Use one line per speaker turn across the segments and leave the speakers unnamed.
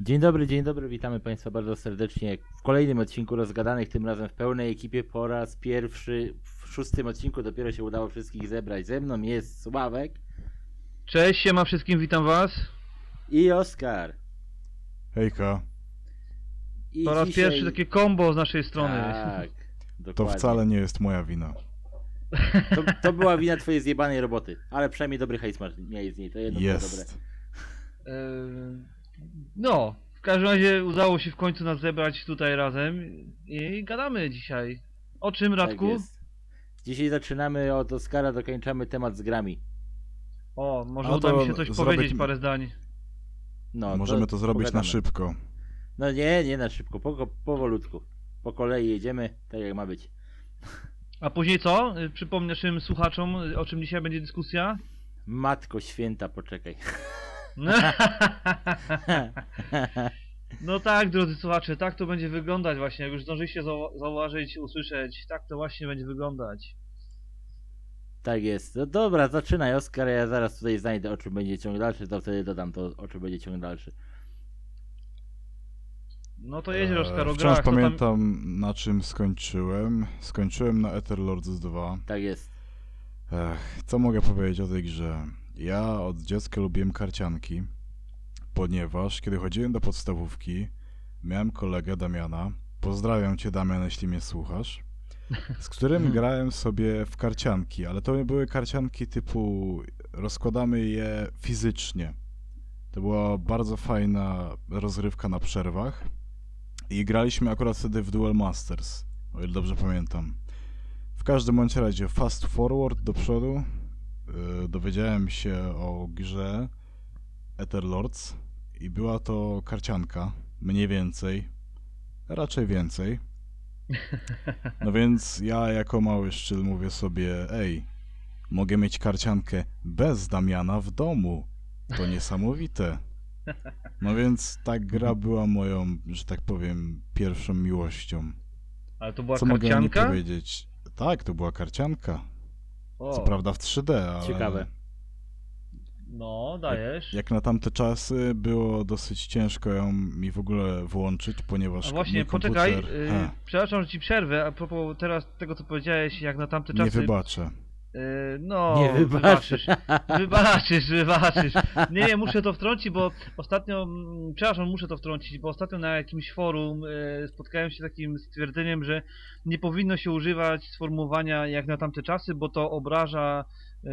Dzień dobry, dzień dobry, witamy Państwa bardzo serdecznie w kolejnym odcinku Rozgadanych, tym razem w pełnej ekipie po raz pierwszy. W szóstym odcinku dopiero się udało wszystkich zebrać. Ze mną jest Sławek
Cześć, siema wszystkim, witam was.
i Oskar.
Hejka,
I
Po raz
dzisiaj-
pierwszy takie combo z naszej strony.
Tak,
to
dokładnie.
wcale nie jest moja wina.
To, to była wina Twojej zjebanej roboty, ale przynajmniej dobry hejs masz- miałeś z niej, to jedno było dobre.
Jest.
Em, No, w każdym razie udało się w końcu nas zebrać tutaj razem i gadamy dzisiaj. O czym, Radku?
Tak jest. Dzisiaj zaczynamy od Oskara, dokończamy temat z grami.
o, może
A
uda
No to
mi się coś
zrobić-
powiedzieć, parę zdań.
No,
Możemy to zrobić na
pogadamy.
szybko.
No nie, nie na szybko, po, powolutku. Po kolei jedziemy, tak jak ma być.
A później co? Y, Przypomnę naszym słuchaczom, y, o czym dzisiaj będzie dyskusja.
Matko święta, poczekaj.
No tak, drodzy słuchacze, tak to będzie wyglądać właśnie. Jak już zdążyliście zau- zauważyć, usłyszeć, tak to właśnie będzie wyglądać.
tak jest. No dobra, zaczynaj Oskar, ja zaraz tutaj znajdę o czym będzie ciąg dalszy, to wtedy dodam to o czym będzie ciąg dalszy.
No to jedzie Oskar, o
E, wciąż
grach, to tam-
pamiętam na czym skończyłem. Skończyłem na Etherlords 2.
Tak jest.
Ech, co mogę powiedzieć o tej grze? Ja od dziecka lubiłem karcianki, ponieważ kiedy chodziłem do podstawówki, miałem kolegę Damiana. Pozdrawiam cię Damian, jeśli mnie słuchasz. Z którym grałem sobie w karcianki, ale to nie były karcianki typu rozkładamy je fizycznie. To była bardzo fajna rozrywka na przerwach. I graliśmy akurat wtedy w Duel Masters, o ile dobrze pamiętam. W każdym bądź razie fast forward do przodu. Yy, dowiedziałem się o grze Etherlords i była to karcianka, mniej więcej, raczej więcej. No więc ja jako mały szczyl mówię sobie, ej, mogę mieć karciankę bez Damiana w domu. To niesamowite. No więc ta gra była moją, że tak powiem, pierwszą miłością.
Ale to była
Co mogę o niej
karcianka?
powiedzieć? Tak, to była karcianka.
O,
Co prawda w 3D, ale
Ciekawe.
No, dajesz.
jak na tamte czasy było dosyć ciężko ją mi w ogóle włączyć, ponieważ
A właśnie,
mój komputer
poczekaj, y,
he,
przepraszam, że ci przerwę, a propos teraz tego, co powiedziałeś, jak na tamte
nie
czasy...
wybaczę.
y, no,
Nie wybaczysz.
wybaczysz. Wybaczysz, wybaczysz. Nie, nie, muszę to wtrącić, bo ostatnio, mm, przepraszam, muszę to wtrącić, bo ostatnio na jakimś forum y, spotkałem się z takim stwierdzeniem, że nie powinno się używać sformułowania jak na tamte czasy, bo to obraża y,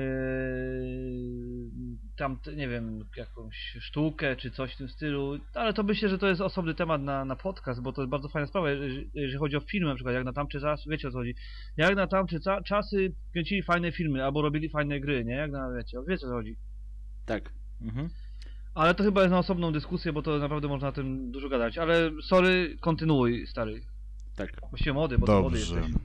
tam, nie wiem, jakąś sztukę czy coś w tym stylu, ale to myślę, że to jest osobny temat na, na podcast, bo to jest bardzo fajna sprawa, jeżeli, jeżeli chodzi o filmy na przykład, jak na tamte czasy, wiecie o co chodzi, jak na tamte ca- czasy kręcili fajne filmy albo robili fajne gry, nie, jak na, wiecie, wiecie o co chodzi.
Tak. Mhm.
Ale to chyba jest na osobną dyskusję, bo to naprawdę można o tym dużo gadać, ale sorry, kontynuuj, stary,
Tak.
właściwie młody, bo ty młody
Dobrze.
jesteś.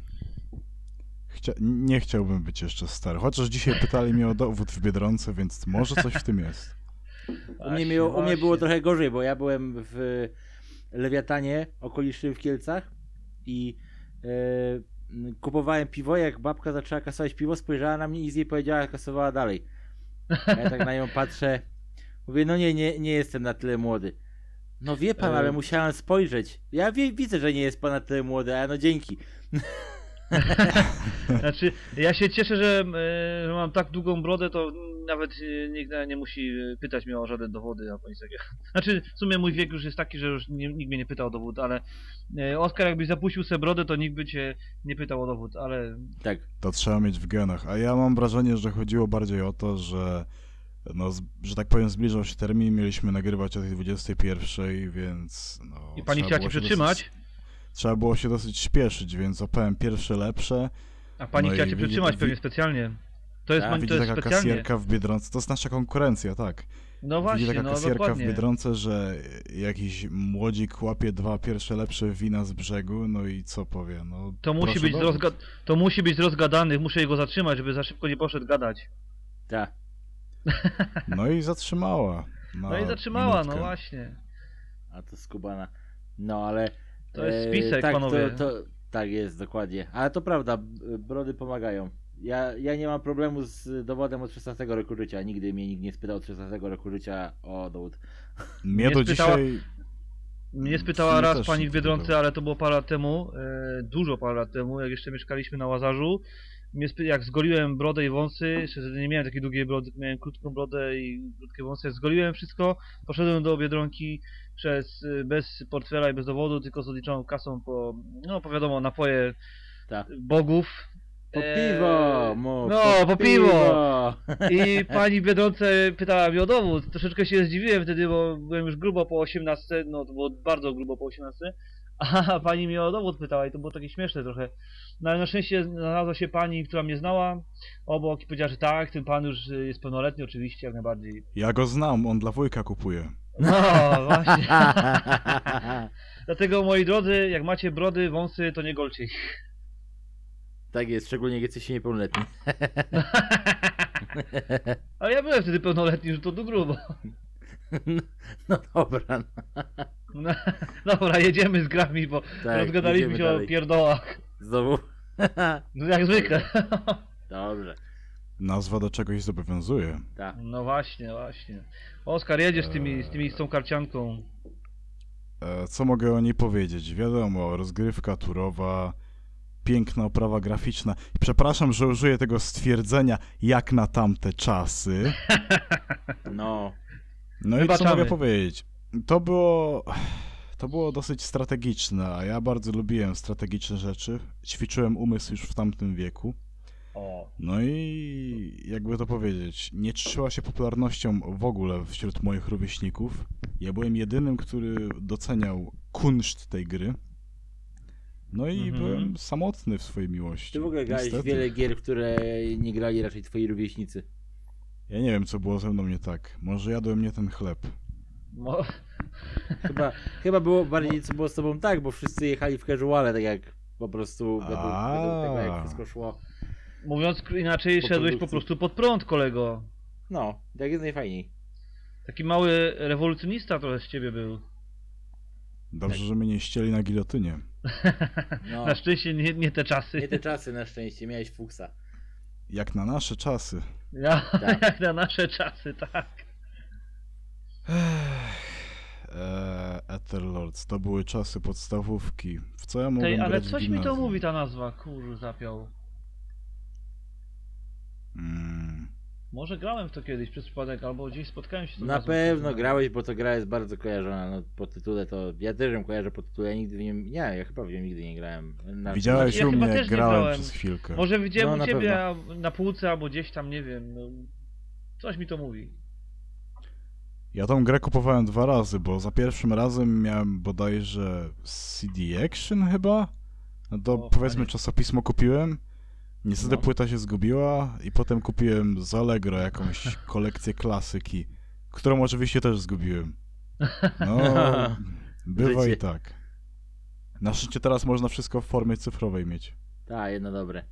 Chcia... Nie chciałbym być jeszcze stary, chociaż dzisiaj pytali mnie o dowód w Biedronce, więc może coś w tym jest.
U mnie, miło, u mnie było trochę gorzej, bo ja byłem w Lewiatanie okolicznym w Kielcach i e, m, kupowałem piwo, jak babka zaczęła kasować piwo, spojrzała na mnie i z jej powiedziała, kasowała dalej. A ja tak na nią patrzę, mówię, no nie, nie, nie jestem na tyle młody. No wie pan,
E.
ale musiałem spojrzeć. Ja wie, widzę, że nie jest pan na tyle młody, a no dzięki.
Znaczy, ja się cieszę, że, e, że mam tak długą brodę, to nawet e, nikt nie musi e, pytać mnie o żadne dowody albo nic takiego. Znaczy, w sumie mój wiek już jest taki, że już nie, nikt mnie nie pyta o dowód, ale e, Oskar, jakbyś zapuścił sobie brodę, to nikt by cię nie pytał o dowód, ale
Tak,
To trzeba mieć w genach. A ja mam wrażenie, że chodziło bardziej o to, że no, z, że tak powiem, zbliżał się termin, mieliśmy nagrywać o tej 21, więc no...
i pani chciała
trzeba
cię
było się
przytrzymać,
Dosyć, trzeba było się dosyć śpieszyć, więc opowiem pierwsze lepsze.
a pani
no
chciała
i
cię
widzi-
przytrzymać
wi-
pewnie specjalnie. To jest,
Tak,
pani, to
Widzi
jest
taka
specjalnie.
kasjerka w Biedronce, to jest nasza konkurencja, tak.
No
Widzi
właśnie,
taka
no
kasjerka w
dokładnie.
Biedronce, że jakiś młodzik łapie dwa pierwsze lepsze wina z brzegu, no i co powie, no...
To musi,
proszę
być z
bardzo.
rozga- to musi być z rozgadanych, muszę go zatrzymać, żeby za szybko nie poszedł gadać.
tak.
No i zatrzymała. na
No i zatrzymała, no
minutkę.
właśnie.
A to skubana. No ale.
To jest spisek,
tak,
panowie.
To, to, tak jest, dokładnie. Ale to prawda, b- brody pomagają. Ja, ja nie mam problemu z dowodem od 16 roku życia. Nigdy mnie nikt nie spytał od 16 roku życia o dowód.
Mnie
Nie
do
spytała-
dzisiaj
Mnie
Mm,
spytała
mnie
raz
też
pani
się
w Biedronce,
pytała.
ale to było parę lat temu, e, dużo parę lat temu, jak jeszcze mieszkaliśmy na Łazarzu. Mnie spy- jak zgoliłem brodę i wąsy, jeszcze wtedy nie miałem takiej długiej brody, miałem krótką brodę i krótkie wąsy, jak zgoliłem wszystko, poszedłem do Biedronki przez, e, bez portfela i bez dowodu, tylko z odliczoną kasą po, no po wiadomo, napoje
Tak.
bogów.
Po
E,
piwo! Mów,
no, po piwo. I pani w Biedronce pytała mnie o dowód. Troszeczkę się zdziwiłem wtedy, bo byłem już grubo po 18, no to było bardzo grubo po 18. A pani mnie o dowód pytała i to było takie śmieszne trochę. No ale na szczęście znalazła się pani, która mnie znała obok i powiedziała, że tak, ten pan już y, jest pełnoletni oczywiście, jak najbardziej.
Ja go znam, on dla wujka kupuje.
No właśnie. Dlatego moi drodzy, jak macie brody, wąsy, to nie golcie ich.
tak jest, szczególnie jak jesteście niepełnoletni.
Ale ja byłem wtedy pełnoletni, że to do grubo.
No dobra, no,
No, dobra, jedziemy z grami, bo
tak,
rozgadaliśmy
idziemy
się
dalej.
o pierdołach.
Znowu?
No jak zwykle.
Dobrze,
Nazwa do czegoś zobowiązuje.
tak.
No właśnie, właśnie. Oskar, jedziesz z, tymi, z, tymi, z tą karcianką.
E, Co mogę o niej powiedzieć? Wiadomo, rozgrywka turowa, piękna oprawa graficzna. Przepraszam, że użyję tego stwierdzenia jak na tamte czasy.
No,
No i co
Wybaczamy.
mogę powiedzieć? To było. To było dosyć strategiczne, a ja bardzo lubiłem strategiczne rzeczy. Ćwiczyłem umysł już w tamtym wieku.
O.
No i jakby to powiedzieć, nie cieszyła się popularnością w ogóle wśród moich rówieśników. Ja byłem jedynym, który doceniał kunszt tej gry. No i
Mhm.
byłem samotny w swojej miłości.
ty w ogóle grałeś w
Niestety.
wiele gier, w które nie grali raczej twoi rówieśnicy.
Ja nie wiem, co było ze mną nie tak. Może jadłem nie ten chleb.
Mo...
Chyba, chyba było bardziej co było z tobą tak, bo wszyscy jechali w casuale, tak jak po prostu według, według tego, jak
A.
wszystko szło.
Mówiąc k- inaczej,
Po
szedłeś po
produkcji.
prostu pod prąd, kolego.
No, tak jest najfajniej.
Taki mały rewolucjonista trochę z ciebie był. Tak.
Dobrze, że mnie nie ścieli na gilotynie.
No,
Na szczęście nie, nie te czasy.
nie te czasy na szczęście, miałeś fuksa.
Jak na nasze czasy.
Ja,
Tak.
Jak na nasze czasy, tak.
Eee, Etherlords, to były czasy podstawówki. W co ja mogłem
Tej, ale
grać w
coś mi to
gimnazjum?
mówi ta nazwa, kur zapiał.
Mm,
Może grałem w to kiedyś przez przypadek, albo gdzieś spotkałem się z tą
Na
nazwą.
pewno grałeś, bo to gra jest bardzo kojarzona. No, po tytule to. Ja też ją kojarzę po tytule, ja nigdy w nim. Nie, ja chyba w nią nigdy nie grałem. Na,
widziałeś
ja
u
chyba
mnie,
też
jak
nie
grałem,
grałem.
przez chwilkę.
Może
No,
widziałem
na
u ciebie a- na półce albo gdzieś tam, nie wiem. No, coś mi to mówi.
Ja tą grę kupowałem dwa razy, bo za pierwszym razem miałem bodajże CD Action chyba? No to
O,
powiedzmy
fajnie.
czasopismo kupiłem. Niestety
No.
płyta się zgubiła i potem kupiłem z Allegro jakąś kolekcję klasyki, którą oczywiście też zgubiłem. No, bywa
Życie.
i tak. Na szczęście teraz można wszystko w formie cyfrowej mieć.
Tak, jedno dobre.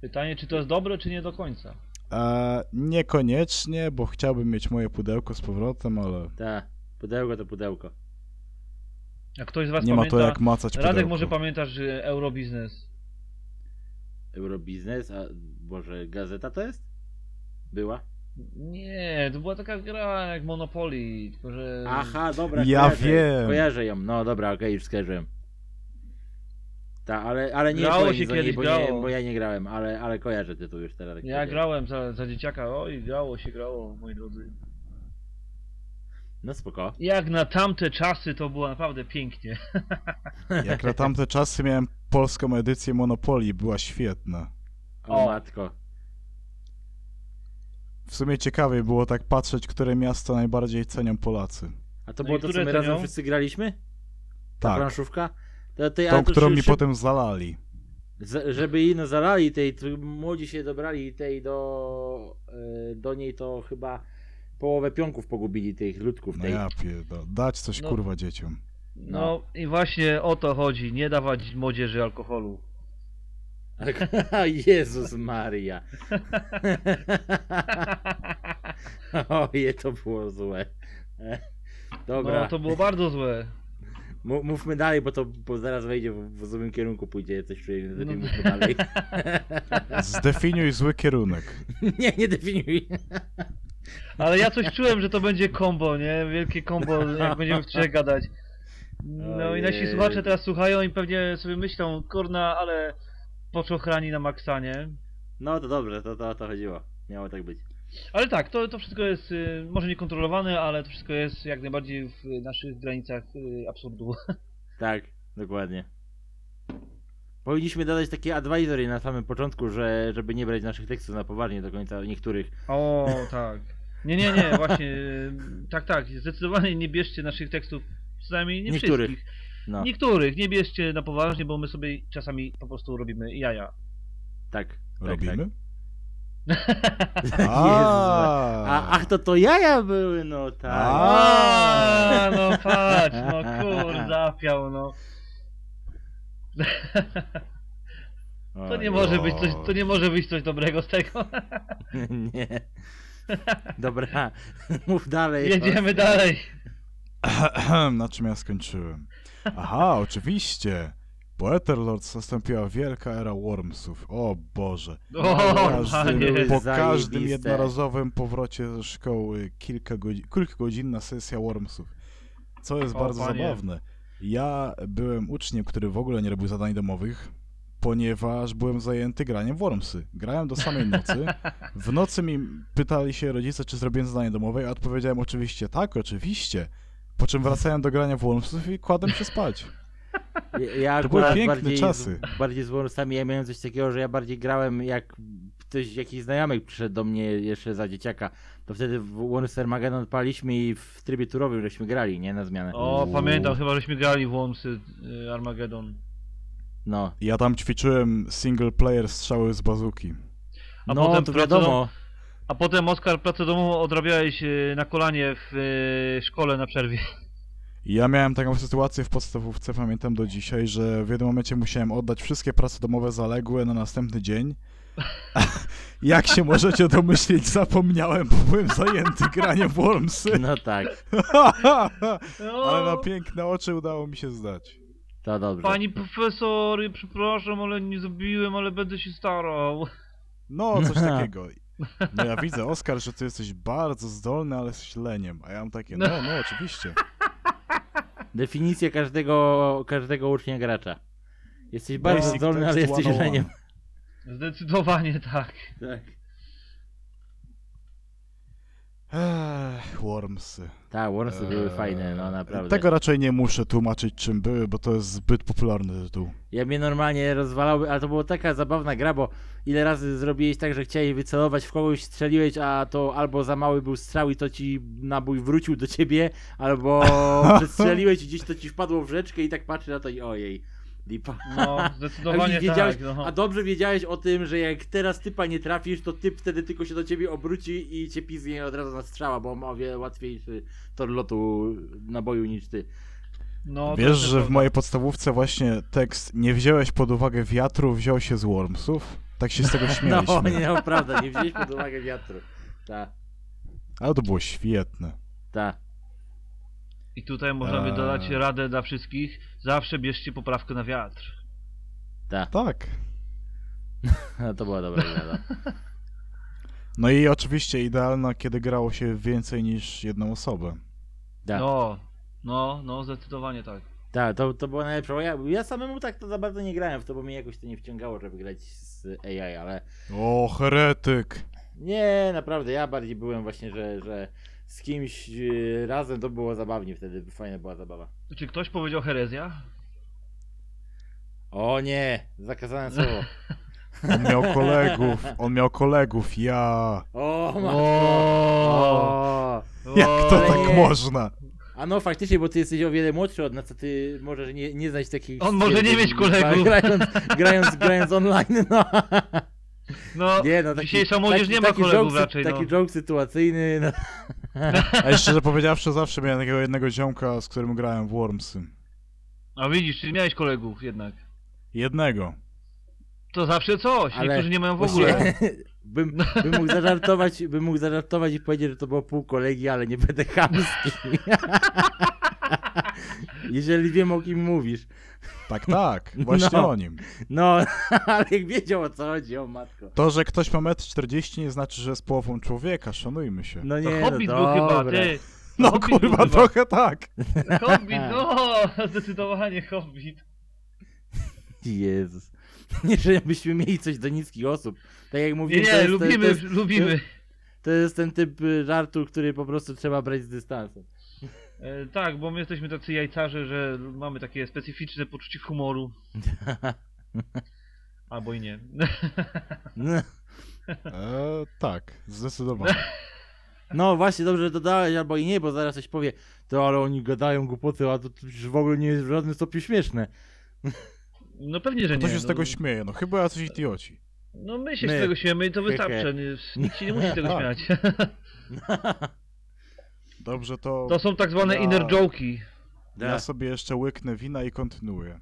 Pytanie, czy to jest dobre, czy nie do końca.
E, niekoniecznie, bo chciałbym mieć moje pudełko z powrotem, ale
Tak, pudełko to pudełko.
Jak ktoś z was
nie ma
pamięta,
to jak macać pudełko.
Radek może pamiętasz że Eurobiznes.
Eurobiznes, a Boże, gazeta to jest? Była?
Nie, to była taka gra jak Monopoly, tylko że...
Aha, dobra.
Ja
kojarzę,
wiem.
Kojarzę ją. No dobra, okej, już skojarzyłem. Tak, ale, ale nie
Grało
powiem
się
za
kiedyś,
bo,
grało.
Nie, bo ja nie grałem, ale, ale kojarzę tytuł już teraz. jak
Ja
powiedziałeś.
grałem za, za dzieciaka, oj, grało się, grało, moi drodzy.
No spoko.
Jak na tamte czasy to było naprawdę pięknie.
Jak na tamte czasy miałem polską edycję Monopolii, była świetna.
O,
O.
matko.
W sumie ciekawie było tak patrzeć, które miasto najbardziej cenią Polacy.
A to
No
było
i
to, co
które
my
to
razem
miał?
wszyscy graliśmy? Ta
Tak,
planszówka? To, to, ale
tą,
to
którą
szy-
mi
szy-
potem zalali.
Z, żeby jej no zalali, tej tu młodzi się dobrali tej do, y, do niej to chyba połowę pionków pogubili tych ludków
No
tej.
ja pierdo, dać coś
No.
kurwa dzieciom.
No,
No.
i właśnie o to chodzi, nie dawać młodzieży alkoholu.
Jezus Maria. Oje, to było złe. E, Dobra,
No, to było bardzo złe.
mu- mówmy dalej, bo to bo zaraz wejdzie w, w złym kierunku, pójdzie coś czuję, lepiej
No.
mówmy dalej.
Zdefiniuj zły kierunek.
nie, nie definiuj.
Ale ja coś czułem, że to będzie kombo, nie? Wielkie kombo, jak będziemy w trzech gadać. No i nasi
Ojej.
słuchacze teraz słuchają i pewnie sobie myślą, kurna, ale poczochrani na maksa, nie?
No to dobrze, to to, to chodziło. Miało tak być.
Ale tak, to, to wszystko jest y, może niekontrolowane, ale to wszystko jest jak najbardziej w y, naszych granicach y, absurdu.
Tak, dokładnie. Powinniśmy dodać takie advisory na samym początku, że żeby nie brać naszych tekstów na poważnie do końca niektórych.
O, tak. Nie, nie, nie, właśnie. y, Tak, tak, zdecydowanie nie bierzcie naszych tekstów, przynajmniej nie
Niektórych.
wszystkich.
No,
Niektórych, nie bierzcie na poważnie, bo my sobie czasami po prostu robimy jaja.
tak. tak, Tak.
Robimy?
no. A,
A,
ach, to to jaja były, no tak.
A.
A, no patrz, no kurde, apiał, no. To nie
Oj,
może być coś, to nie może być coś dobrego z tego.
Nie. Dobra, mów dalej.
Jedziemy dalej.
Na czym ja skończyłem? Aha, oczywiście. Po Etherlords nastąpiła wielka era Wormsów. O Boże.
No,
O,
Każdy,
panie.
po każdym
Zajebiste.
jednorazowym powrocie ze szkoły kilka godzin, kilkugodzinna sesja Wormsów. Co jest
O,
bardzo
panie.
zabawne. Ja byłem uczniem, który w ogóle nie robił zadań domowych, ponieważ byłem zajęty graniem w Wormsy. Grałem do samej nocy. W nocy mi pytali się rodzice, czy zrobiłem zadanie domowe, ja odpowiedziałem oczywiście tak, oczywiście. Po czym wracałem do grania w Wormsów i kładłem się spać.
Ja- Ja
To były
akurat
piękne
bardziej,
czasy.
Z, bardziej z Wormsami ja miałem coś takiego, że ja bardziej grałem jak ktoś, jakiś znajomy przyszedł do mnie jeszcze za dzieciaka, to wtedy w Worms Armageddon odpaliśmy i w trybie turowym żeśmy grali, nie? Na zmianę.
O,
Uuu.
pamiętam, chyba żeśmy grali w Wormsy y, Armageddon.
No,
Ja tam ćwiczyłem single player strzały z bazuki.
A
no
potem
to
pracę dom-
wiadomo.
A potem, Oskar, pracę domową odrabiałeś y, na kolanie w y, szkole na przerwie.
Ja miałem taką sytuację w podstawówce, pamiętam do dzisiaj, że w jednym momencie musiałem oddać wszystkie prace domowe zaległe na następny dzień. Jak się możecie domyślić, zapomniałem, bo byłem zajęty graniem w Wormsy.
No tak,
Ale na piękne oczy udało mi się zdać.
to dobrze.
Pani profesor, ja przepraszam, ale nie zrobiłem, ale będę się starał.
No, coś takiego. No ja widzę, Oskar, że ty jesteś bardzo zdolny, ale jesteś leniem. A ja mam takie, no, no, oczywiście.
Definicję każdego, każdego ucznia gracza. Jesteś bardzo
Basic oh
zdolny,
text
ale jesteś
101.
leniem.
Zdecydowanie tak.
Tak.
Ech, Wormsy.
Tak, Wormsy były
Eee,
fajne, no naprawdę.
Tego raczej nie muszę tłumaczyć, czym były, bo to jest zbyt popularny tytuł.
Ja mnie normalnie rozwalały, ale to była taka zabawna gra, bo ile razy zrobiłeś tak, że chciałeś wycelować w kogoś, strzeliłeś, a to albo za mały był strzał i to ci nabój wrócił do ciebie, albo przestrzeliłeś i gdzieś to ci wpadło w rzeczkę i tak patrzy na to i ojej, lipa.
No,
A,
zdecydowanie
wiedziałeś,
tak. No.
a dobrze wiedziałeś o tym, że jak teraz typa nie trafisz, to typ wtedy tylko się do ciebie obróci i cię piznie od razu na strzała, bo on ma o wiele łatwiejszy tor lotu naboju niż ty.
No, to
Wiesz,
też
że w
prawda.
mojej podstawówce właśnie tekst nie wziąłeś pod uwagę wiatru, wziął się z Wormsów? Tak się z tego śmialiśmy.
No, nie, no, prawda, nie wzięliśmy pod uwagę wiatru. Tak,
Ale to było świetne.
tak.
I tutaj można by
Eee.
dodać radę dla wszystkich. Zawsze bierzcie poprawkę na wiatr.
Tak.
No, to była dobra gra. no.
No i oczywiście idealna, kiedy grało się więcej niż jedną osobę.
Tak.
No, no, no, zdecydowanie tak.
Tak, to, to było najlepsze. bo Ja, ja samemu tak to za bardzo nie grałem w to, bo mnie jakoś to nie wciągało, żeby grać z AI, ale
O, heretyk!
nie, naprawdę, ja bardziej byłem właśnie, że, że z kimś e, razem to było zabawnie wtedy, fajna była zabawa.
Czy ktoś powiedział herezja?
O nie, zakazane słowo.
On miał kolegów, on miał kolegów, ja.
O, matko.
O,
O.
Jak to
Ale nie.
tak można?
A no faktycznie, bo ty jesteś o wiele młodszy od nas, a ty możesz nie, nie znać takich...
On może nie mieć kolegów.
Grając, grając, grając online, no.
No,
Nie, no taki,
dzisiejsza młodzież
taki,
nie ma
taki
kolegów
joke,
raczej,
Taki
no.
joke sytuacyjny, no.
A jeszcze, że powiedziawszy, zawsze miałem takiego jednego ziomka, z którym grałem w Wormsy.
A widzisz, czyli miałeś kolegów jednak.
Jednego.
To zawsze coś,
Ale
niektórzy nie mają w
Właśnie
ogóle.
Bym, bym, mógł zażartować, bym mógł zażartować i powiedzieć, że to było pół kolegi, ale nie będę chamski. Jeżeli wiem o kim mówisz.
Tak, tak, właśnie
No.
o nim.
No, ale jak wiedział o co chodzi, o matko.
To, że ktoś ma metr 40 nie znaczy, że jest połową człowieka, szanujmy się.
No nie,
to Hobbit
no
był chyba,
dobra.
ty.
No
Hobbit
kurwa,
był
trochę tak.
chyba. Hobbit, no! Zdecydowanie Hobbit.
Jezus. Nie, że byśmy mieli coś do niskich osób. Tak jak
Nie,
mówiłem, to
nie,
jest,
lubimy,
to, jest,
lubimy.
to jest ten typ y, żartu, który po prostu trzeba brać z dystansem.
E, tak, bo my jesteśmy tacy jajcarze, że mamy takie specyficzne poczucie humoru. Albo i nie.
E, tak, zdecydowanie.
No właśnie, dobrze, że dodałeś, albo i nie, bo zaraz coś powie. To ale oni gadają głupoty, a to przecież w ogóle nie jest w żadnym stopniu śmieszne.
No pewnie, że nie.
Kto się z
no.
tego śmieje? No chyba jacyś idioci.
No my się
My. No.
z tego śmiejemy i to
Hehe.
wystarczy. Nie, nikt się nie musi z tego
Tak.
śmiać.
Dobrze, to,
To są tak zwane
Ja-
inner
No.
joke'i.
ja sobie jeszcze łyknę wina i kontynuuję.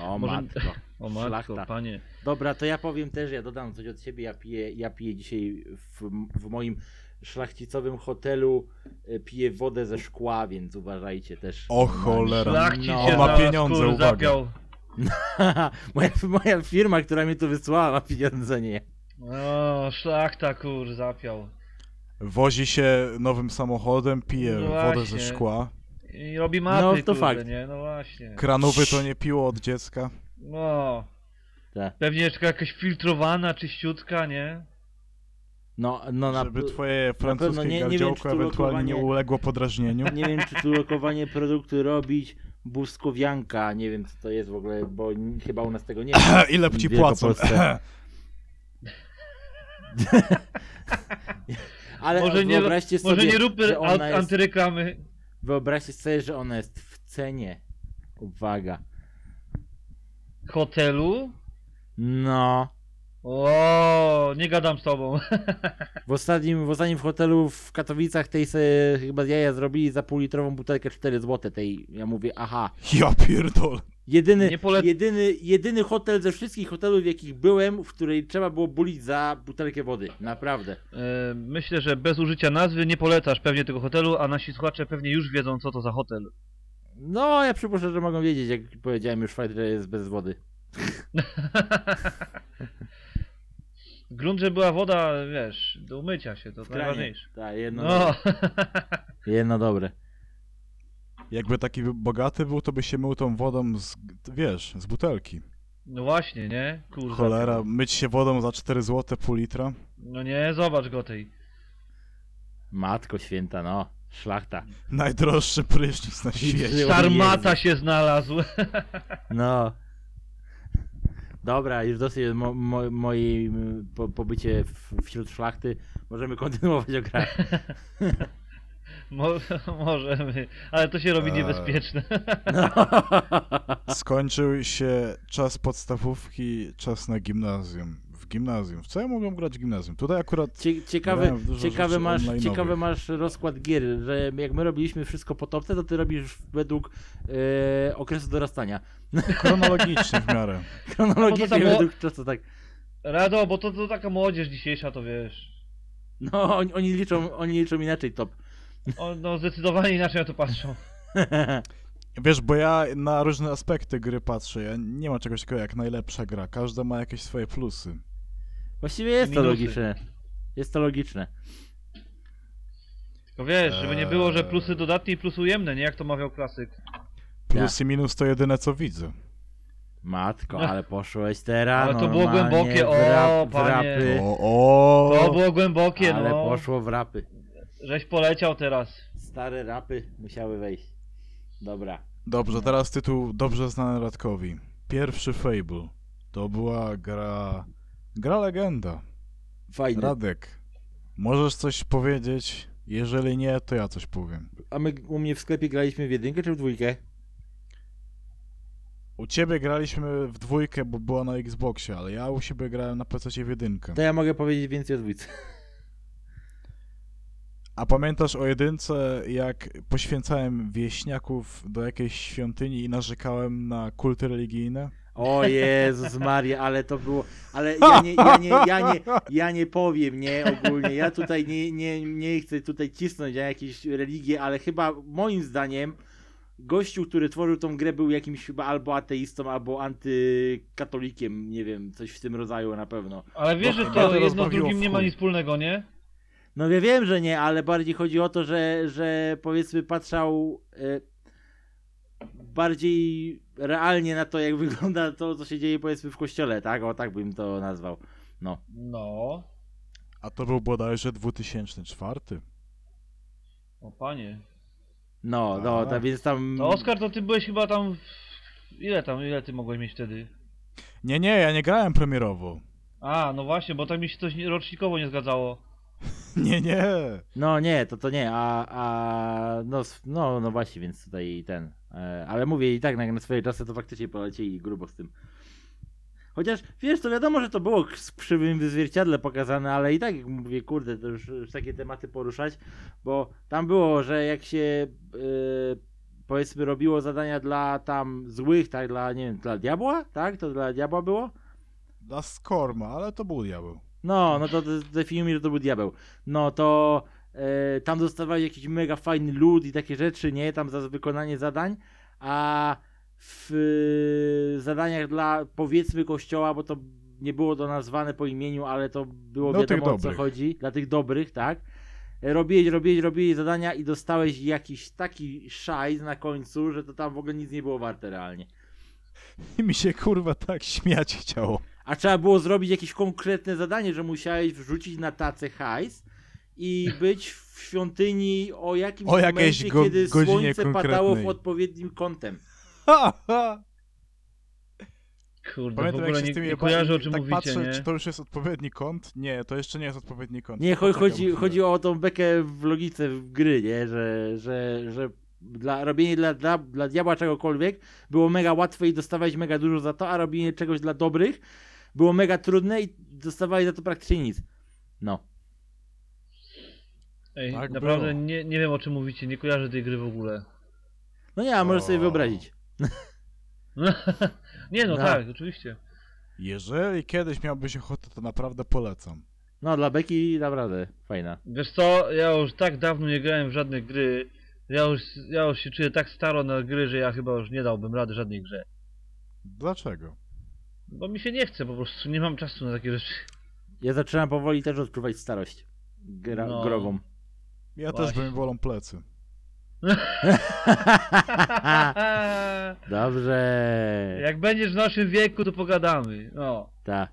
O
Może-
matko.
O matko,
Szlachta.
panie.
Dobra, to ja powiem też, ja dodam coś od siebie. Ja piję, ja piję dzisiaj w, w moim szlachcicowym hotelu, e, piję wodę ze szkła, więc uważajcie też.
O cholera.
Szlachcic
No.
się
On
ma
zaraz,
pieniądze,
kur,
uwaga.
zapiął.
moja, moja firma, która mnie tu wysłała, ma pieniądze, nie.
O, No, szlachta, kur, zapiał.
Wozi się nowym samochodem, pije
No
wodę ze
właśnie.
szkła.
I robi mapy,
No, to
kurde,
fakt.
nie? No właśnie.
Kranowy to nie piło od dziecka.
No.
Tak.
Pewnie jeszcze jakaś filtrowana, czyściutka, nie?
No, no na,
Żeby twoje
pewno
francuskie
nie- nie wiem, czy
gardziołko
tu
ewentualnie nie
lokowanie-
uległo podrażnieniu.
nie wiem, czy tu lokowanie produktu robić. Błyskowianka, nie wiem co to jest w ogóle, bo n- chyba u nas tego nie ma.
Ile ci
Wielkopolsce.
płacą?
Ale
Może nie-
wyobraźcie sobie,
Może nie róbmy
że
an-
ona jest
antyreklamy.
Wyobraźcie sobie, że ona jest w cenie. Uwaga.
Hotelu?
No.
O, nie gadam z tobą.
W ostatnim, w ostatnim hotelu w Katowicach tej se chyba z jaja zrobili za półlitrową butelkę 4 zł. Tej, ja mówię, aha.
Ja pierdolę.
Jedyny,
Nie pole-
jedyny, jedyny hotel ze wszystkich hotelów, w jakich byłem, w której trzeba było bulić za butelkę wody. Naprawdę.
E, Myślę, że bez użycia nazwy nie polecasz pewnie tego hotelu, a nasi słuchacze pewnie już wiedzą, co to za hotel.
No, ja przypuszczam, że mogą wiedzieć, jak powiedziałem już Fajder jest bez wody.
Grunt, że była woda, wiesz, do umycia się, to najważniejsze.
Tak, jedno,
No,
jedno dobre.
Jakby taki bogaty był, to by się mył tą wodą z, wiesz, z butelki.
no właśnie, nie? Kurwa.
Cholera, myć się wodą za 4 zł pół litra?
No nie, zobacz go tej.
Matko święta, no. Szlachta.
Najdroższy prysznic na świecie.
Jezu.
Sarmata się znalazł.
No. Dobra, już dosyć mo, mo, mojej mm, po, pobycie w, wśród szlachty. Możemy kontynuować o grach.
Mo- możemy, ale to się robi
Eee.
niebezpieczne.
No.
Skończył się czas podstawówki, czas na gimnazjum. W gimnazjum. W co ja mogłem grać w gimnazjum? Tutaj akurat
Cie, ciekawe,
Grałem w dużo
ciekawy,
rzeczy
masz,
online'owych.
ciekawy masz rozkład gier, że jak my robiliśmy wszystko po topce, to ty robisz według e, okresu dorastania.
No chronologicznie w miarę.
Chronologicznie
samo-
według czasu, tak.
Rado, bo to, to taka młodzież dzisiejsza, to wiesz.
No, oni, oni, liczą, oni liczą inaczej top.
O, no zdecydowanie inaczej na to patrzą.
Wiesz, bo ja na różne aspekty gry patrzę. Ja nie ma czegoś takiego jak najlepsza gra. Każda ma jakieś swoje plusy.
Właściwie jest to
Minusy.
logiczne. Jest to logiczne.
Tylko No wiesz, żeby nie było, że plusy
Eee.
dodatnie i plusy ujemne, nie jak to mawiał klasyk.
Plus i minus to jedyne co widzę.
Matko, ale poszłeś teraz.
No. Ale to było
normalnie
głębokie, o,
w rap- w
panie.
rapy.
O,
To
o!
było głębokie,
Ale
no.
poszło w rapy.
Żeś poleciał teraz.
Stare rapy musiały wejść. Dobra.
Dobrze, teraz tytuł dobrze znany Radkowi. Pierwszy Fable. To była gra... Gra legenda.
Fajne.
Radek, możesz coś powiedzieć? Jeżeli nie, to ja coś powiem.
A my u mnie w sklepie graliśmy w jedynkę czy w dwójkę?
U ciebie graliśmy w dwójkę, bo była na Xboxie, ale ja u siebie grałem na PC w jedynkę.
To ja mogę powiedzieć więcej o dwójce.
A pamiętasz o jedynce, jak poświęcałem wieśniaków do jakiejś świątyni i narzekałem na kulty religijne?
O Jezus Maria, ale to było... Ale ja nie, ja nie, ja nie, ja nie powiem, nie, ogólnie. Ja tutaj nie, nie, nie chcę tutaj cisnąć na jakieś religie, ale chyba moim zdaniem gościu, który tworzył tą grę był jakimś chyba albo ateistą, albo antykatolikiem, nie wiem, coś w tym rodzaju na pewno.
Ale wiesz,
No,
że
mnie to
to jedno z
rozbawiło
drugim
w
nie ma
chuj.
nic wspólnego, nie?
No ja wiem, że nie, ale bardziej chodzi o to, że, że powiedzmy patrzał e, bardziej realnie na to, jak wygląda to, co się dzieje powiedzmy w kościele, tak? O tak bym to nazwał.
No,
A to był bodajże 2004.
o panie.
No, no,
Aha.
ta, więc tam...
Mm.
To Oskar, to ty byłeś chyba tam. W... Ile tam, ile ty mogłeś mieć wtedy?
Nie, nie, ja nie grałem premierowo.
A, no właśnie, bo tak mi się coś nie- rocznikowo nie zgadzało.
Nie, nie.
No nie, to to nie, a, a no, s- no, no właśnie, więc tutaj ten. e, Ale mówię i tak na, na swoje czasy to faktycznie polecieli grubo z tym. Chociaż wiesz, to wiadomo, że to było k- z krzywym zwierciadle pokazane, ale i tak jak mówię, kurde, to już, już takie tematy poruszać, bo tam było, że jak się e, powiedzmy robiło zadania dla tam złych, tak, dla nie wiem, dla diabła, tak? To dla diabła było?
Dla Skorma, ale to był diabeł.
No, no to de- definiuj mi, że to był diabeł. No to e, tam dostawali jakiś mega fajny lód i takie rzeczy, nie? Tam za wykonanie zadań, a w e, zadaniach dla powiedzmy kościoła, bo to nie było to nazwane po imieniu, ale to było
No,
wiadomo
tych
o co
dobrych.
chodzi, dla tych dobrych, tak? E, Robiłeś, robiłeś, robiłeś zadania i dostałeś jakiś taki szajs na końcu, że to tam w ogóle nic nie było warte realnie.
I mi się kurwa tak śmiać chciało.
A trzeba było zrobić jakieś konkretne zadanie, że musiałeś wrzucić na tacę hajs i być w świątyni o jakimś
O jakiejś
momencie,
go-
kiedy
godzinie
słońce padało w
konkretnej.
odpowiednim kątem.
Ha, ha.
Kurde,
Pamiętam
w
jak
ogóle
się
nie,
z tym
nie
jebali,
kojarzę o czym
tak
mówicie,
patrzę,
nie?
czy to już jest odpowiedni kąt? Nie, to jeszcze nie jest odpowiedni kąt.
Nie, cho-
No Poczekam
chodzi,
chwilę.
chodzi o tą bekę w logice w gry, nie? Że, że, że dla, robienie dla, dla, dla diabła czegokolwiek było mega łatwe i dostawałeś mega dużo za to, a robienie czegoś dla dobrych było mega trudne i dostawałeś za to praktycznie nic. No.
Ej,
Tak
naprawdę
było.
nie, nie wiem o czym mówicie, nie kojarzę tej gry w ogóle.
No nie, a możesz sobie
O.
wyobrazić.
nie no,
No.
tak, oczywiście.
Jeżeli kiedyś miałbyś ochotę, to naprawdę polecam.
No, dla beki naprawdę fajna.
Wiesz co, ja już tak dawno nie grałem w żadne gry. Ja już, ja już się czuję tak staro na gry, że ja chyba już nie dałbym rady żadnej grze.
Dlaczego?
Bo mi się nie chce po prostu, nie mam czasu na takie rzeczy.
Ja zaczynam powoli też odczuwać starość gra-
No.
grową.
Ja też
Właśnie.
bym wolą plecy.
Dobrze.
Jak będziesz w naszym wieku, to pogadamy. No.
Ta.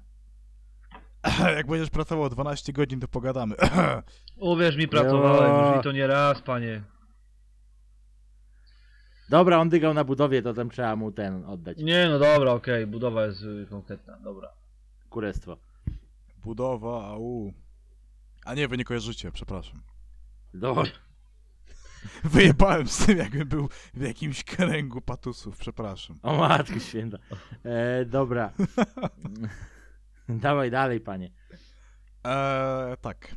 Jak będziesz pracował 12 godzin, to pogadamy.
Uwierz mi, pracowałem
Jo.
już i to nie raz, panie.
Dobra, on dygał na budowie, to tam trzeba mu ten oddać.
Nie no dobra, okej, budowa jest y, konkretna, dobra.
Kurestwo.
Budowa, au. A nie, wy nie kojarzycie, przepraszam.
Do...
Wyjebałem z tym, jakbym był w jakimś kręgu patusów, przepraszam.
O matko święta. E, dobra. Dawaj dalej, panie.
Eee, tak.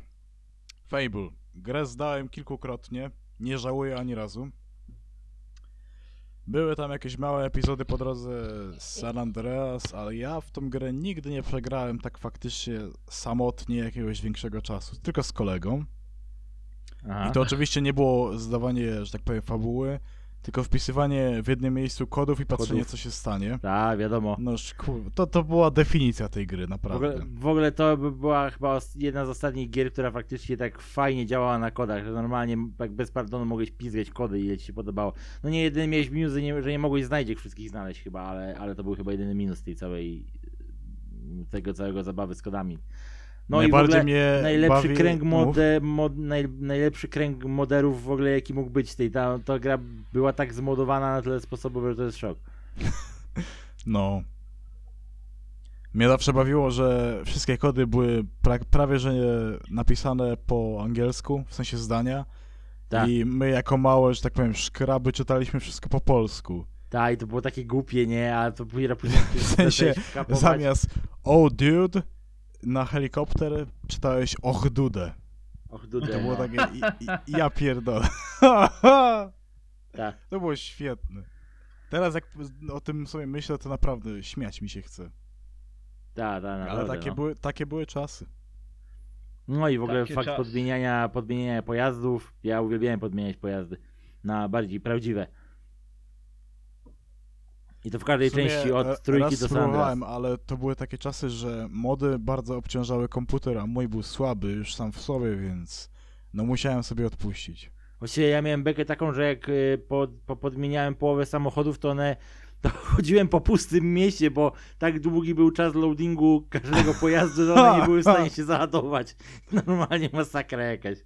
Fable. Grę zdałem kilkukrotnie. Nie żałuję ani razu. Były tam jakieś małe epizody po drodze z San Andreas, ale ja w tą grę nigdy nie przegrałem tak faktycznie samotnie jakiegoś większego czasu, tylko z kolegą.
Aha.
I to oczywiście nie było zdawanie, że tak powiem, fabuły, tylko wpisywanie w jednym miejscu kodów i patrzenie,
Kodów.
co się stanie.
Ta, wiadomo.
No już, kurwa, to, to była definicja tej gry,
W ogóle,
naprawdę.
w ogóle to by była chyba os- jedna z ostatnich gier, która faktycznie tak fajnie działała na kodach, że normalnie tak bez pardonu mogłeś pizgać kody, ile ci się podobało. No nie, jedyny miałeś minus, że nie, że nie mogłeś znajdziek wszystkich znaleźć chyba, ale, ale to był chyba jedyny minus tej całej, y, tego całego zabawy z kodami. No i w
Najbardziej
ogóle
mnie
najlepszy,
bawi...
kręg
Mów.
mode, mod, naj, najlepszy kręg moderów w ogóle jaki mógł być tej, ta, ta gra była tak zmodowana na tyle sposobów, że to jest szok.
No. Mnie zawsze bawiło, że wszystkie kody były pra- prawie że napisane po angielsku, w sensie zdania.
Tak.
I my jako małe, że tak powiem, szkraby czytaliśmy wszystko po polsku.
Tak, i to było takie głupie, nie? A to później później
W sensie,
zaczęłeś kapować.
Zamiast oh dude na helikopter czytałeś och dude.
Och,
I
dude,
to było tak-
no.
takie i, i, ja pierdolę.
Tak.
To było świetne. Teraz jak o tym sobie myślę, to naprawdę śmiać mi się chce.
Tak, tak, naprawdę.
Ale takie
no.
były, takie były czasy.
no i w ogóle
Takie
fakt
czasy.
podmieniania, podmieniania pojazdów. Ja uwielbiałem podmieniać pojazdy na bardziej prawdziwe. I to w każdej
W sumie,
części, od
e,
trójki
raz
do
spróbowałem,
Sandra.
ale to były takie czasy, że mody bardzo obciążały komputer, a mój był słaby już sam w sobie, więc No musiałem sobie odpuścić.
Właściwie ja miałem bekę taką, że jak y, pod, po, podmieniałem połowę samochodów, to one to chodziłem po pustym mieście, bo tak długi był czas loadingu każdego pojazdu, że one nie były w stanie się załadować. Normalnie masakra jakaś.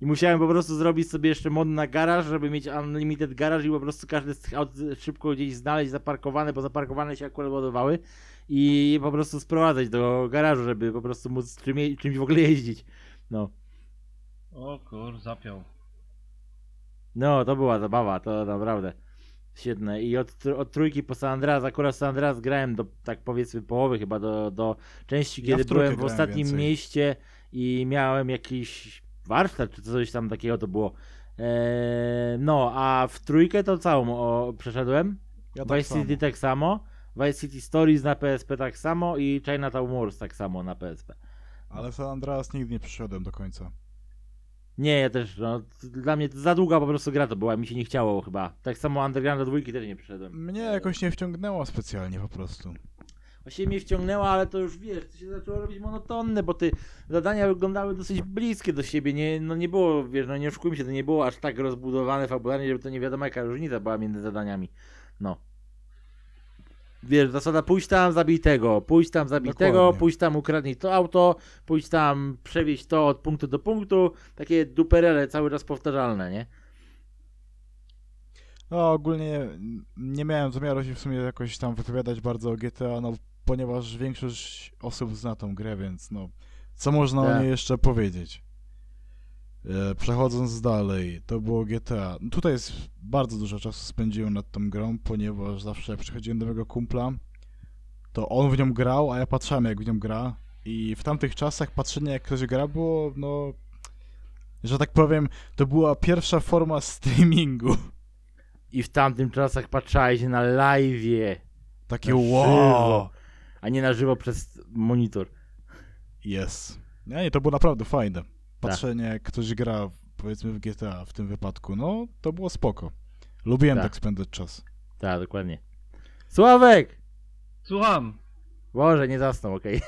I musiałem po prostu zrobić sobie jeszcze mod na garaż, żeby mieć unlimited garaż i po prostu każdy z tych aut szybko gdzieś znaleźć zaparkowane, bo zaparkowane się akurat ładowały i po prostu sprowadzać do garażu, żeby po prostu móc czym, czymś w ogóle jeździć. No.
O kur, zapiął.
No, to była zabawa, to naprawdę świetne. I od, tr- od trójki po San Andreas, akurat San Andreas grałem do, tak powiedzmy, połowy chyba, do, do części,
Ja
kiedy
w trójkę
byłem w
grałem
ostatnim
więcej.
mieście i miałem jakiś warsztat, czy coś tam takiego to było. Eee, no, a w trójkę to całą o, przeszedłem.
Ja tak
Vice
samo.
City tak samo, Vice City Stories na PSP tak samo i Chinatown Wars tak samo na PSP.
Ale San Andreas nigdy nie przyszedłem do końca.
Nie, ja też, no, t- dla mnie to za długa po prostu gra to była, mi się nie chciało chyba. Tak samo Underground do dwójki też nie przyszedłem.
Mnie jakoś nie wciągnęło specjalnie po prostu.
Właściwie mnie wciągnęła, ale to już wiesz, to się zaczęło robić monotonne, bo ty zadania wyglądały dosyć bliskie do siebie. Nie, no nie było, wiesz, no nie oszukujmy się, to nie było aż tak rozbudowane fabularnie, żeby to nie wiadomo jaka różnica była między zadaniami. No. Wiesz, zasada pójść tam, zabij tego, pójść tam, zabij
Dokładnie.
tego, pójść tam, ukradnij to auto, pójść tam, przewieźć to od punktu do punktu. Takie duperele cały czas powtarzalne, nie?
No ogólnie nie miałem zamiaru się w sumie jakoś tam wypowiadać bardzo o GTA, no ponieważ większość osób zna tą grę, więc no co można o
Tak.
niej jeszcze powiedzieć? E, Przechodząc dalej, to było GTA. No, Tutaj jest bardzo dużo czasu spędziłem nad tą grą, ponieważ zawsze jak przychodziłem do mojego kumpla, to on w nią grał, a ja patrzyłem jak w nią gra i w tamtych czasach patrzenie jak ktoś gra było, no że tak powiem, to była pierwsza forma streamingu.
I w tamtym czasach patrzałeś na live'ie,
Takie
Na
wow!
żywo. a nie na żywo przez monitor.
Jest. Nie, nie, to było naprawdę fajne. Patrzenie,
Tak.
jak ktoś gra, w- powiedzmy w GTA w tym wypadku, no to było spoko. Lubiłem
Tak.
tak, spędzać czas.
Tak, dokładnie. Sławek!
Słucham!
Boże, nie zasnął, okej.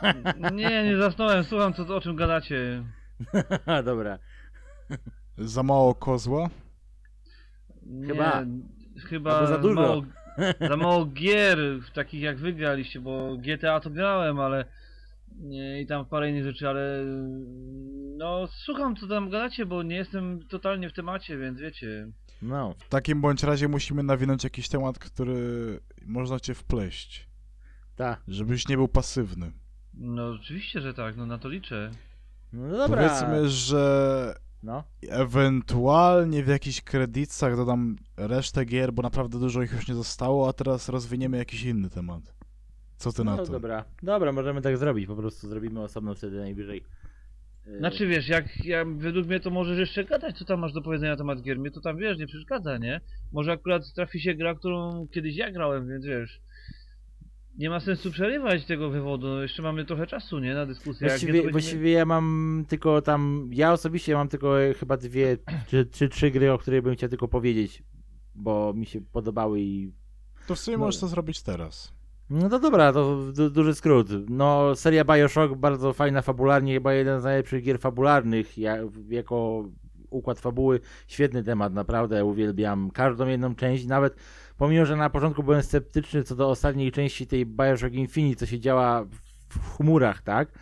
Nie, nie zasnąłem, słucham co, o czym gadacie.
Dobra.
Za mało kozła?
Nie,
Chyba.
Chyba
Albo za dużo.
Mało, za mało gier, takich jak wy graliście, bo GTA to grałem, ale nie, i tam parę innych rzeczy, ale no słucham co tam gadacie, bo nie jestem totalnie w temacie, więc wiecie.
No.
W takim bądź razie musimy nawinąć jakiś temat, który można cię wpleść,
Ta.
żebyś nie był pasywny.
No oczywiście, że tak, no na to liczę.
No dobra.
Powiedzmy, że
No.
ewentualnie w jakichś kredytach dodam resztę gier, bo naprawdę dużo ich już nie zostało, a teraz rozwiniemy jakiś inny temat. Co ty
no
na to?
dobra. Dobra, możemy tak zrobić. Po prostu zrobimy osobną wtedy najwyżej. Yy,
Znaczy wiesz, jak ja, według mnie to możesz jeszcze gadać, co tam masz do powiedzenia na temat gier, mnie to tam wiesz, nie przeszkadza, nie? Może akurat trafi się gra, którą kiedyś ja grałem, więc wiesz. Nie ma sensu przerywać tego wywodu, no jeszcze mamy trochę czasu, nie? Na dyskusję. jak nie, to
Właściwie,
będzie-
właściwie ja mam tylko tam. Ja osobiście mam tylko e, chyba dwie czy, czy trzy gry, o których bym chciał tylko powiedzieć, bo mi się podobały i.
To w sumie
No.
możesz to zrobić teraz.
No to dobra, to du- duży skrót. No, seria Bioshock bardzo fajna fabularnie, chyba jeden z najlepszych gier fabularnych ja, jako układ fabuły. Świetny temat, naprawdę uwielbiam każdą jedną część, nawet pomimo, że na początku byłem sceptyczny co do ostatniej części tej Bioshock Infinite, co się działa w- w chmurach, tak?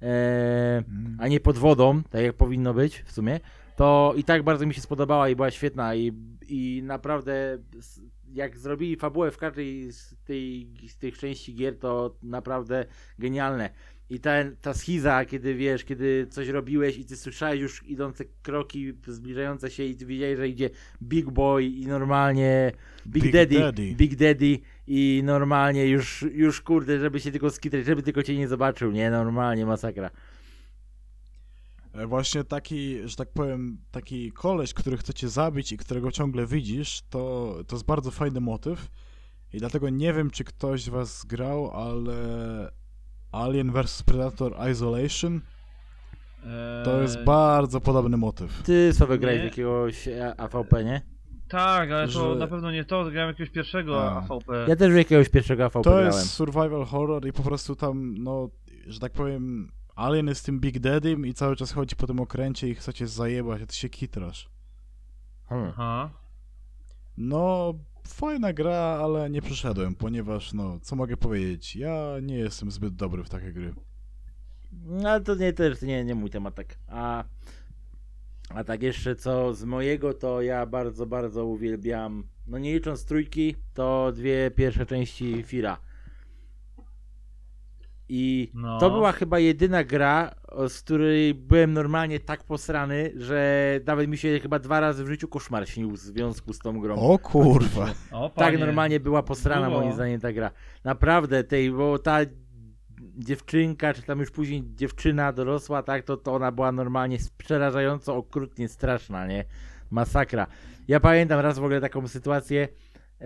Eee, a nie pod wodą, tak jak powinno być w sumie, to i tak bardzo mi się spodobała i była świetna i, i naprawdę s- jak zrobili fabułę w każdej z, tej, z tych części gier, to naprawdę genialne. I ta, ta schiza, kiedy wiesz, kiedy coś robiłeś i ty słyszałeś już idące kroki zbliżające się i ty wiedziałeś, że idzie Big Boy i normalnie Big,
Big
Daddy,
Daddy.
Big Daddy i normalnie już, już kurde, żeby się tylko skitrać, żeby tylko cię nie zobaczył, nie? Normalnie masakra.
E, Właśnie taki, że tak powiem, taki koleś, który chce cię zabić i którego ciągle widzisz, to, to jest bardzo fajny motyw. I dlatego nie wiem, czy ktoś z was grał, ale Alien vs Predator Isolation to
E.
jest
Eee,
bardzo podobny motyw.
Ty sobie grałeś w
Nie.
jakiegoś e, A- AVP, nie?
Tak, ale to
że-
na pewno nie to, grałem jakiegoś pierwszego
A.
AVP.
Ja też w jakiegoś pierwszego AVP
To
grałem.
jest survival horror i po prostu tam, no, że tak powiem, Alien jest tym Big Daddym i cały czas chodzi po tym okręcie i chce cię zajebać, a ty się kitrasz.
Hmm.
Aha.
No, fajna gra, ale nie przeszedłem, ponieważ, no, co mogę powiedzieć, ja nie jestem zbyt dobry w takie gry.
No ale to nie też nie, nie mój temat tak. A, a tak jeszcze co z mojego, to ja bardzo, bardzo uwielbiam. No nie licząc trójki, to dwie pierwsze części Fira. I
No.
to była chyba jedyna gra, o- z której byłem normalnie tak posrany, że nawet mi się chyba dwa razy w życiu koszmar śnił w związku z tą grą.
O kurwa!
O,
Tak
panie.
normalnie była posrana
Było.
moim zdaniem ta gra. Naprawdę tej, bo ta dziewczynka, czy tam już później dziewczyna dorosła, tak, to, to ona była normalnie przerażająco okrutnie straszna, nie? Masakra. Ja pamiętam raz w ogóle taką sytuację. E,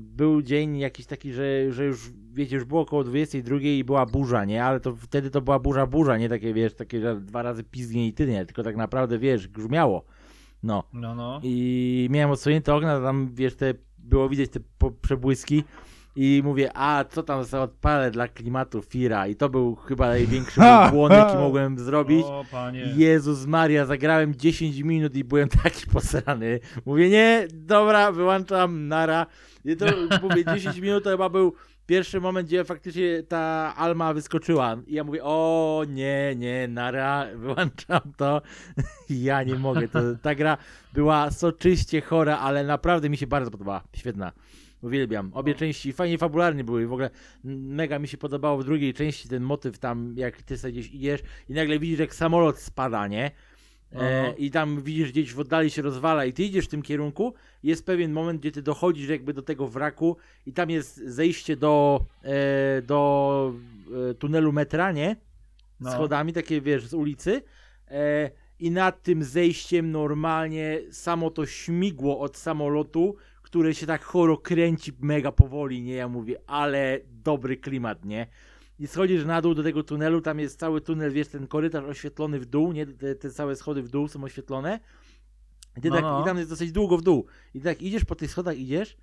był dzień jakiś taki, że, że już wiecie, już było około 22 i była burza, nie? Ale to wtedy to była burza, burza, nie takie wiesz, takie że dwa razy pizgnie i tyle, tylko tak naprawdę wiesz, grzmiało. No.
No, no.
I miałem odsunięte okna, tam wiesz, te, było widać te po- przebłyski. I mówię, a co tam za odpalę dla klimatu Fira? I to był chyba największy mój błąd, jaki mogłem zrobić.
O, panie.
Jezus Maria, zagrałem 10 minut i byłem taki posrany. Mówię, nie, dobra, wyłączam, nara. I to, mówię, 10 minut to chyba był pierwszy moment, gdzie faktycznie ta Alma wyskoczyła. I ja mówię, o nie, nie, nara, wyłączam to. Ja nie mogę, to, ta gra była soczyście chora, ale naprawdę mi się bardzo podobała, świetna. Uwielbiam. Obie części fajnie fabularnie były. W ogóle mega mi się podobało w drugiej części ten motyw tam, jak ty sobie gdzieś idziesz i nagle widzisz, jak samolot spada, nie? E,
Aha.
I tam widzisz gdzieś w oddali się rozwala i ty idziesz w tym kierunku. Jest pewien moment, gdzie ty dochodzisz jakby do tego wraku i tam jest zejście do, e, do e, tunelu metra, nie?
No.
Schodami, takie wiesz, z ulicy. E, I nad tym zejściem normalnie samo to śmigło od samolotu, które się tak choro kręci mega powoli, nie? Ja mówię, ale dobry klimat, nie? I schodzisz na dół do tego tunelu, tam jest cały tunel, wiesz, ten korytarz oświetlony w dół, nie? Te, te całe schody w dół są oświetlone. I, ty
No,
tak,
no.
I tam jest dosyć długo w dół. I tak idziesz po tych schodach, idziesz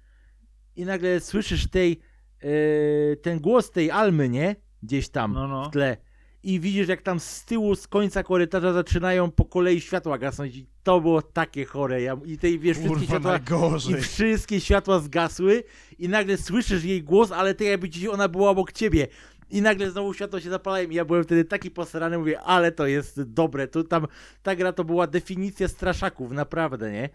i nagle słyszysz tej, e, ten głos tej Almy, nie? Gdzieś tam
No, no.
w tle. I widzisz, jak tam z tyłu, z końca korytarza zaczynają po kolei światła gasnąć. I to było takie chore. Ja, I tej, wiesz, wszystkie
Kurwa,
światła i
najgorzej!
wszystkie światła zgasły i nagle słyszysz jej głos, ale ty jakby ci ona była obok ciebie. I nagle znowu światło się zapalają i ja byłem wtedy taki posrany, mówię, ale to jest dobre, tu tam, ta gra to była definicja straszaków, naprawdę, nie?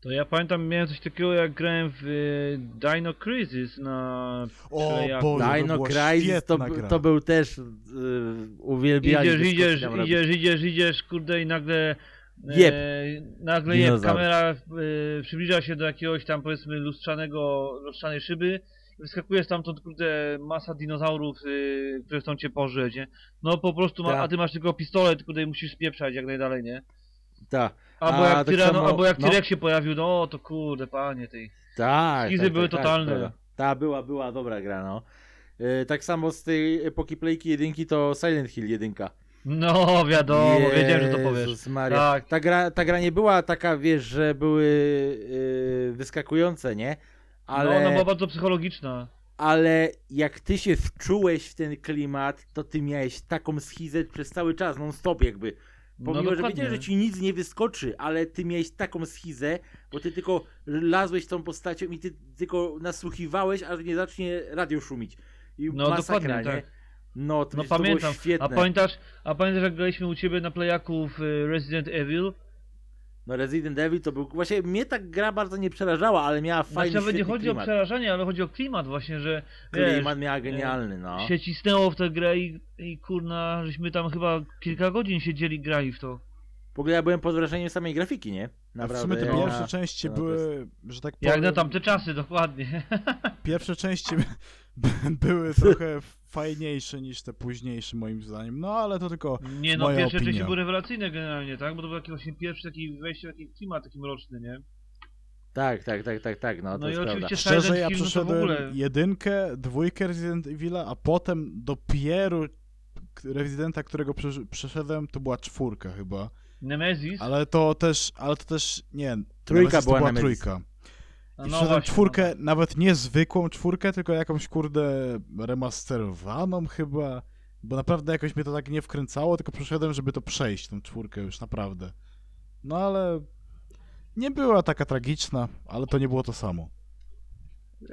To ja pamiętam, miałem coś takiego jak grałem w y, Dino Crisis na
O
Przejazd.
Boże, to
Dino
była
Crisis to,
świetna gra.
to był też yy, uwielbiany.
Idziesz, idziesz, idziesz, idziesz, idziesz, kurde i nagle... e,
Jeb.
nagle jeb,
Dinozaur.
kamera e, przybliża się do jakiegoś tam powiedzmy lustrzanego, lustrzanej szyby i wyskakuje stamtąd kurde masa dinozaurów, e, które chcą cię pożyć, nie? No po prostu, ma,
Tak.
a ty masz tylko pistolet, kurde i musisz spieprzać jak najdalej, nie?
Tak,
Albo
A,
jak,
tak
tyran,
samo-
albo jak
no.
Tyrek się pojawił, no to kurde panie tej.
tak.
Skizy
tak,
były
tak,
totalne.
Tak, ta była, była dobra gra, no. Yy, tak samo z tej epoki Playki jedynki to Silent Hill jedynka.
No wiadomo, wiedziałem, że to powiesz.
Jezus Maria.
Tak,
Ta, gra, ta gra nie była taka, wiesz, że były yy, wyskakujące, nie? Ale,
ale... no ona była bardzo psychologiczna.
ale jak ty się wczułeś w ten klimat, to ty miałeś taką schizę przez cały czas, non stop jakby. Pomimo,
no
że
dokładnie.
wiedziałeś, że ci nic nie wyskoczy, ale ty miałeś taką schizę, bo ty tylko lazłeś tą postacią i ty tylko nasłuchiwałeś, aż nie zacznie radio szumić. I
No,
masakra, nie?
dokładnie, tak.
No, to,
No
no, to było
pamiętam.
świetne.
A pamiętasz, a pamiętasz jak graliśmy u ciebie na playaku w e, Resident Evil?
No Resident Evil to był... Właśnie mnie ta gra bardzo nie przerażała, ale miała fajny,
Znaczy nawet nie
świetny
chodzi
klimat.
o przerażenie, ale chodzi o klimat właśnie, że wiesz, e,
Klimat miała genialny, no.
się cisnęło w tę grę i, i kurna, żeśmy tam chyba kilka godzin siedzieli i grali w to.
W ogóle ja byłem pod wrażeniem samej grafiki, nie?
A w
Naprawdę.
sumie te
ona-
pierwsze części
ona
były, że tak
Jak
powiem,
na tamte czasy, dokładnie.
pierwsze części by- były trochę fajniejsze niż te późniejsze moim zdaniem, no ale to tylko
Nie no,
Moja
pierwsze
opinia.
części były rewelacyjne generalnie, tak? Bo to był taki właśnie pierwszy taki wejście, taki klimat taki mroczny, nie?
Tak, tak, tak, tak, tak, no,
No
to
i
jest prawda.
oczywiście-
Szczerze,
Silent
ja
Hill, no to w
przeszedłem
ogóle-
jedynkę, dwójkę Resident Evil'a, a potem dopiero k- Residenta, którego przeż- przeszedłem, to była czwórka chyba.
Nemesis?
Ale to też, ale to też, nie,
Trójka
Nemesis to
była
była
Nemesis.
trójka.
No
I przeszedłem
właśnie, no.
czwórkę, nawet nie zwykłą czwórkę, tylko jakąś kurde remasterowaną chyba. Bo naprawdę jakoś mnie to tak nie wkręcało, tylko przyszedłem, żeby to przejść, tą czwórkę już naprawdę. No ale nie była taka tragiczna, ale to nie było to samo.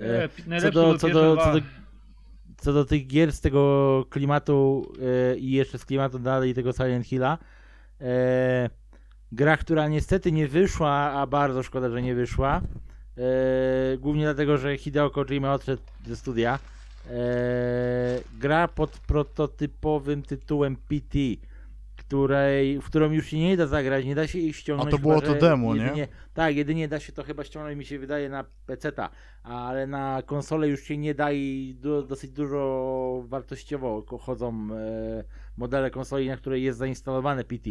E,
E, pi-
Co
najlepsze
do,
były
co,
pierwsze
do,
dwa.
co, do, co do tych gier z tego klimatu e, i jeszcze z klimatu dalej tego Silent Hilla, e, gra, która niestety nie wyszła, a bardzo szkoda, że nie wyszła, e, głównie dlatego, że Hideo Kojima odszedł ze studia, e, gra pod prototypowym tytułem PT, której, w którą już się nie da zagrać, nie da się jej ściągnąć.
A to
chyba,
było to
że
demo, nie?
jedynie, Tak, jedynie da się to chyba ściągnąć, mi się wydaje, na PC-ta ale na konsolę już się nie da i du- dosyć dużo wartościowo ko- chodzą e, modele konsoli, na której jest zainstalowane PT.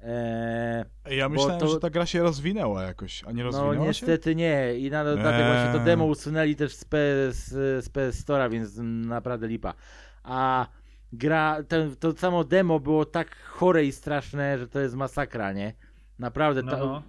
E,
Ej, Ja
Bo
myślałem,
to-
że ta gra się rozwinęła jakoś, a nie
no
rozwinęła się?
niestety nie i na, dlatego właśnie to
Eee.
demo usunęli też z PS, z PS Store'a, więc naprawdę lipa. A gra, ten, to samo demo było tak chore i straszne, że to jest masakra, nie? Naprawdę,
No,
ta,
no.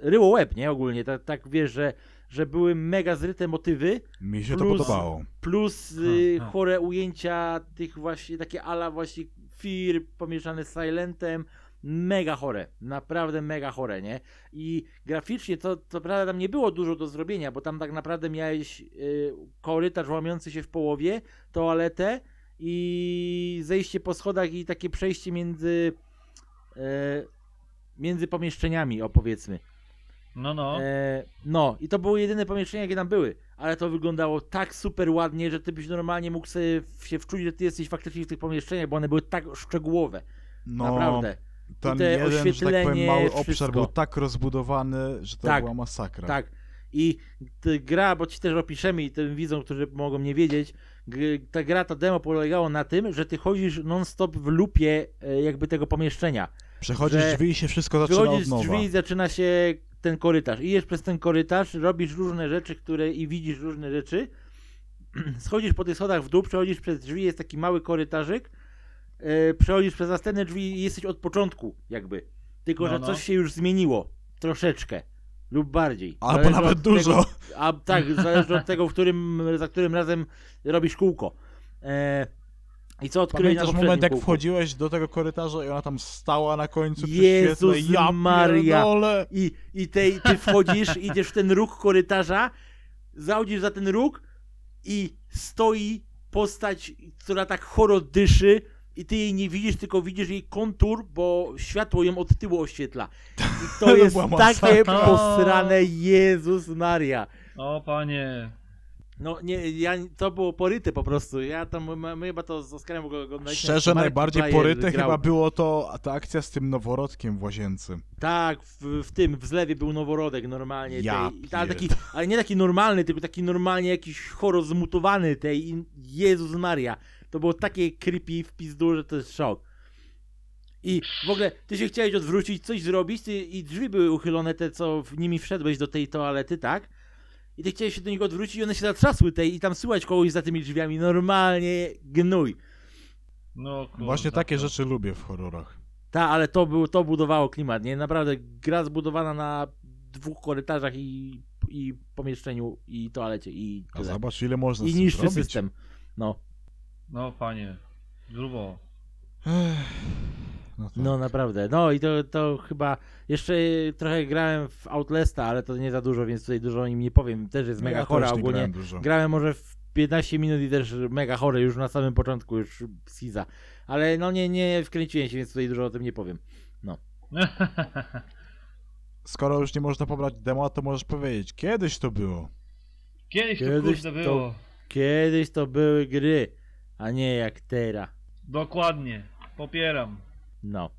ryło łeb, nie? Ogólnie, tak, tak wiesz, że, że były mega zryte motywy,
Mi się to
Plus-
podobało.
plus y,
Aha.
chore ujęcia tych właśnie, takie ala właśnie Fear pomieszane z Silentem, mega chore, naprawdę mega chore, nie? I graficznie to, to prawda tam nie było dużo do zrobienia, bo tam tak naprawdę miałeś y, korytarz łamiący się w połowie, toaletę i zejście po schodach i takie przejście między y, między pomieszczeniami, opowiedzmy.
no, no.
E, no, i to były jedyne pomieszczenia, jakie tam były, ale to wyglądało tak super ładnie, że ty byś normalnie mógł sobie w- się wczuć, że ty jesteś faktycznie w tych pomieszczeniach, bo one były tak szczegółowe,
No,
naprawdę.
ten
tutaj
jeden, że tak powiem,
oświetlenie,
mały obszar
wszystko.
był tak rozbudowany, że to
Tak,
była masakra.
Tak. I t- gra, bo ci też opiszemy i tym widzom, którzy mogą nie wiedzieć, gry- ta gra, to demo polegało na tym, że ty chodzisz non-stop w lupie e, jakby tego pomieszczenia.
Przechodzisz
że-
drzwi i się wszystko zaczyna
Wychodzisz
od
z
nowa.
drzwi i zaczyna się ten korytarz. Idziesz przez ten korytarz, robisz różne rzeczy, które i widzisz różne rzeczy. Schodzisz po tych schodach w dół, przechodzisz przez drzwi, jest taki mały korytarzyk. E, przechodzisz przez następne drzwi i jesteś od początku, jakby. Tylko,
No,
że
no.
coś się już zmieniło. Troszeczkę. Lub bardziej.
Albo
Zależy
nawet
od tego,
dużo.
a tak, zależy od tego, w którym, za którym razem robisz kółko. E, I co odkryłeś
Pamiętasz
na
moment,
poprzednim
jak
kółku?
wchodziłeś do tego korytarza i ona tam stała na końcu przy
Jezus
świetle. Ja
Maria.
pierdolę.
I, i tej, ty wchodzisz, idziesz w ten róg korytarza, zaudzisz za ten róg i stoi postać, która tak choro dyszy i ty jej nie widzisz, tylko widzisz jej kontur, bo światło ją od tyłu oświetla. I to
To
jest
była
takie
masakra.
posrane, Jezus Maria.
O panie.
No nie, ja, to było poryte po prostu. Ja tam, my, my chyba to z Oskarem w ogóle oglądaliśmy.
Szczerze,
Mark
najbardziej
Player grał.
poryte chyba było to ta akcja z tym noworodkiem w łazience.
Tak, w, w tym, w zlewie był noworodek normalnie.
Ja
tej, ale, taki,
pierd-
ale nie taki normalny, tylko taki normalnie jakiś choro zmutowany tej. i- Jezus Maria. To było takie creepy w pizdu, że to jest szok. I w ogóle ty się chciałeś odwrócić, coś zrobić ty, i drzwi były uchylone, te co w nimi wszedłeś do tej toalety, tak? I ty chciałeś się do nich odwrócić i one się zatrzasły tej i tam słychać kogoś za tymi drzwiami. Normalnie gnój.
No, kurwa,
Właśnie takie rzeczy lubię w horrorach.
Ta, ale to, był, to budowało klimat, nie? Naprawdę gra zbudowana na dwóch korytarzach i, i pomieszczeniu, i toalecie, i
A
tyle.
zobacz, ile można z
I
tym
niższy
zrobić.
system. No,
No panie. Grubo.
Ech, No, tak.
no naprawdę. No i to, to chyba... Jeszcze trochę grałem w Outlasta, ale to nie za dużo, więc tutaj dużo o nim nie powiem. Też jest
No
mega
ja
chora
też nie
ogólnie.
grałem Dużo.
Grałem może w 15 minut i też mega chory już na samym początku, już schiza. Ale no nie, nie wkręciłem się, więc tutaj dużo o tym nie powiem.
Skoro już nie można pobrać demo, to możesz powiedzieć, kiedyś to było.
Kiedyś to
Kiedyś
kurde
to-
było.
Kiedyś to były gry, a nie jak teraz.
Dokładnie. Popieram.
No.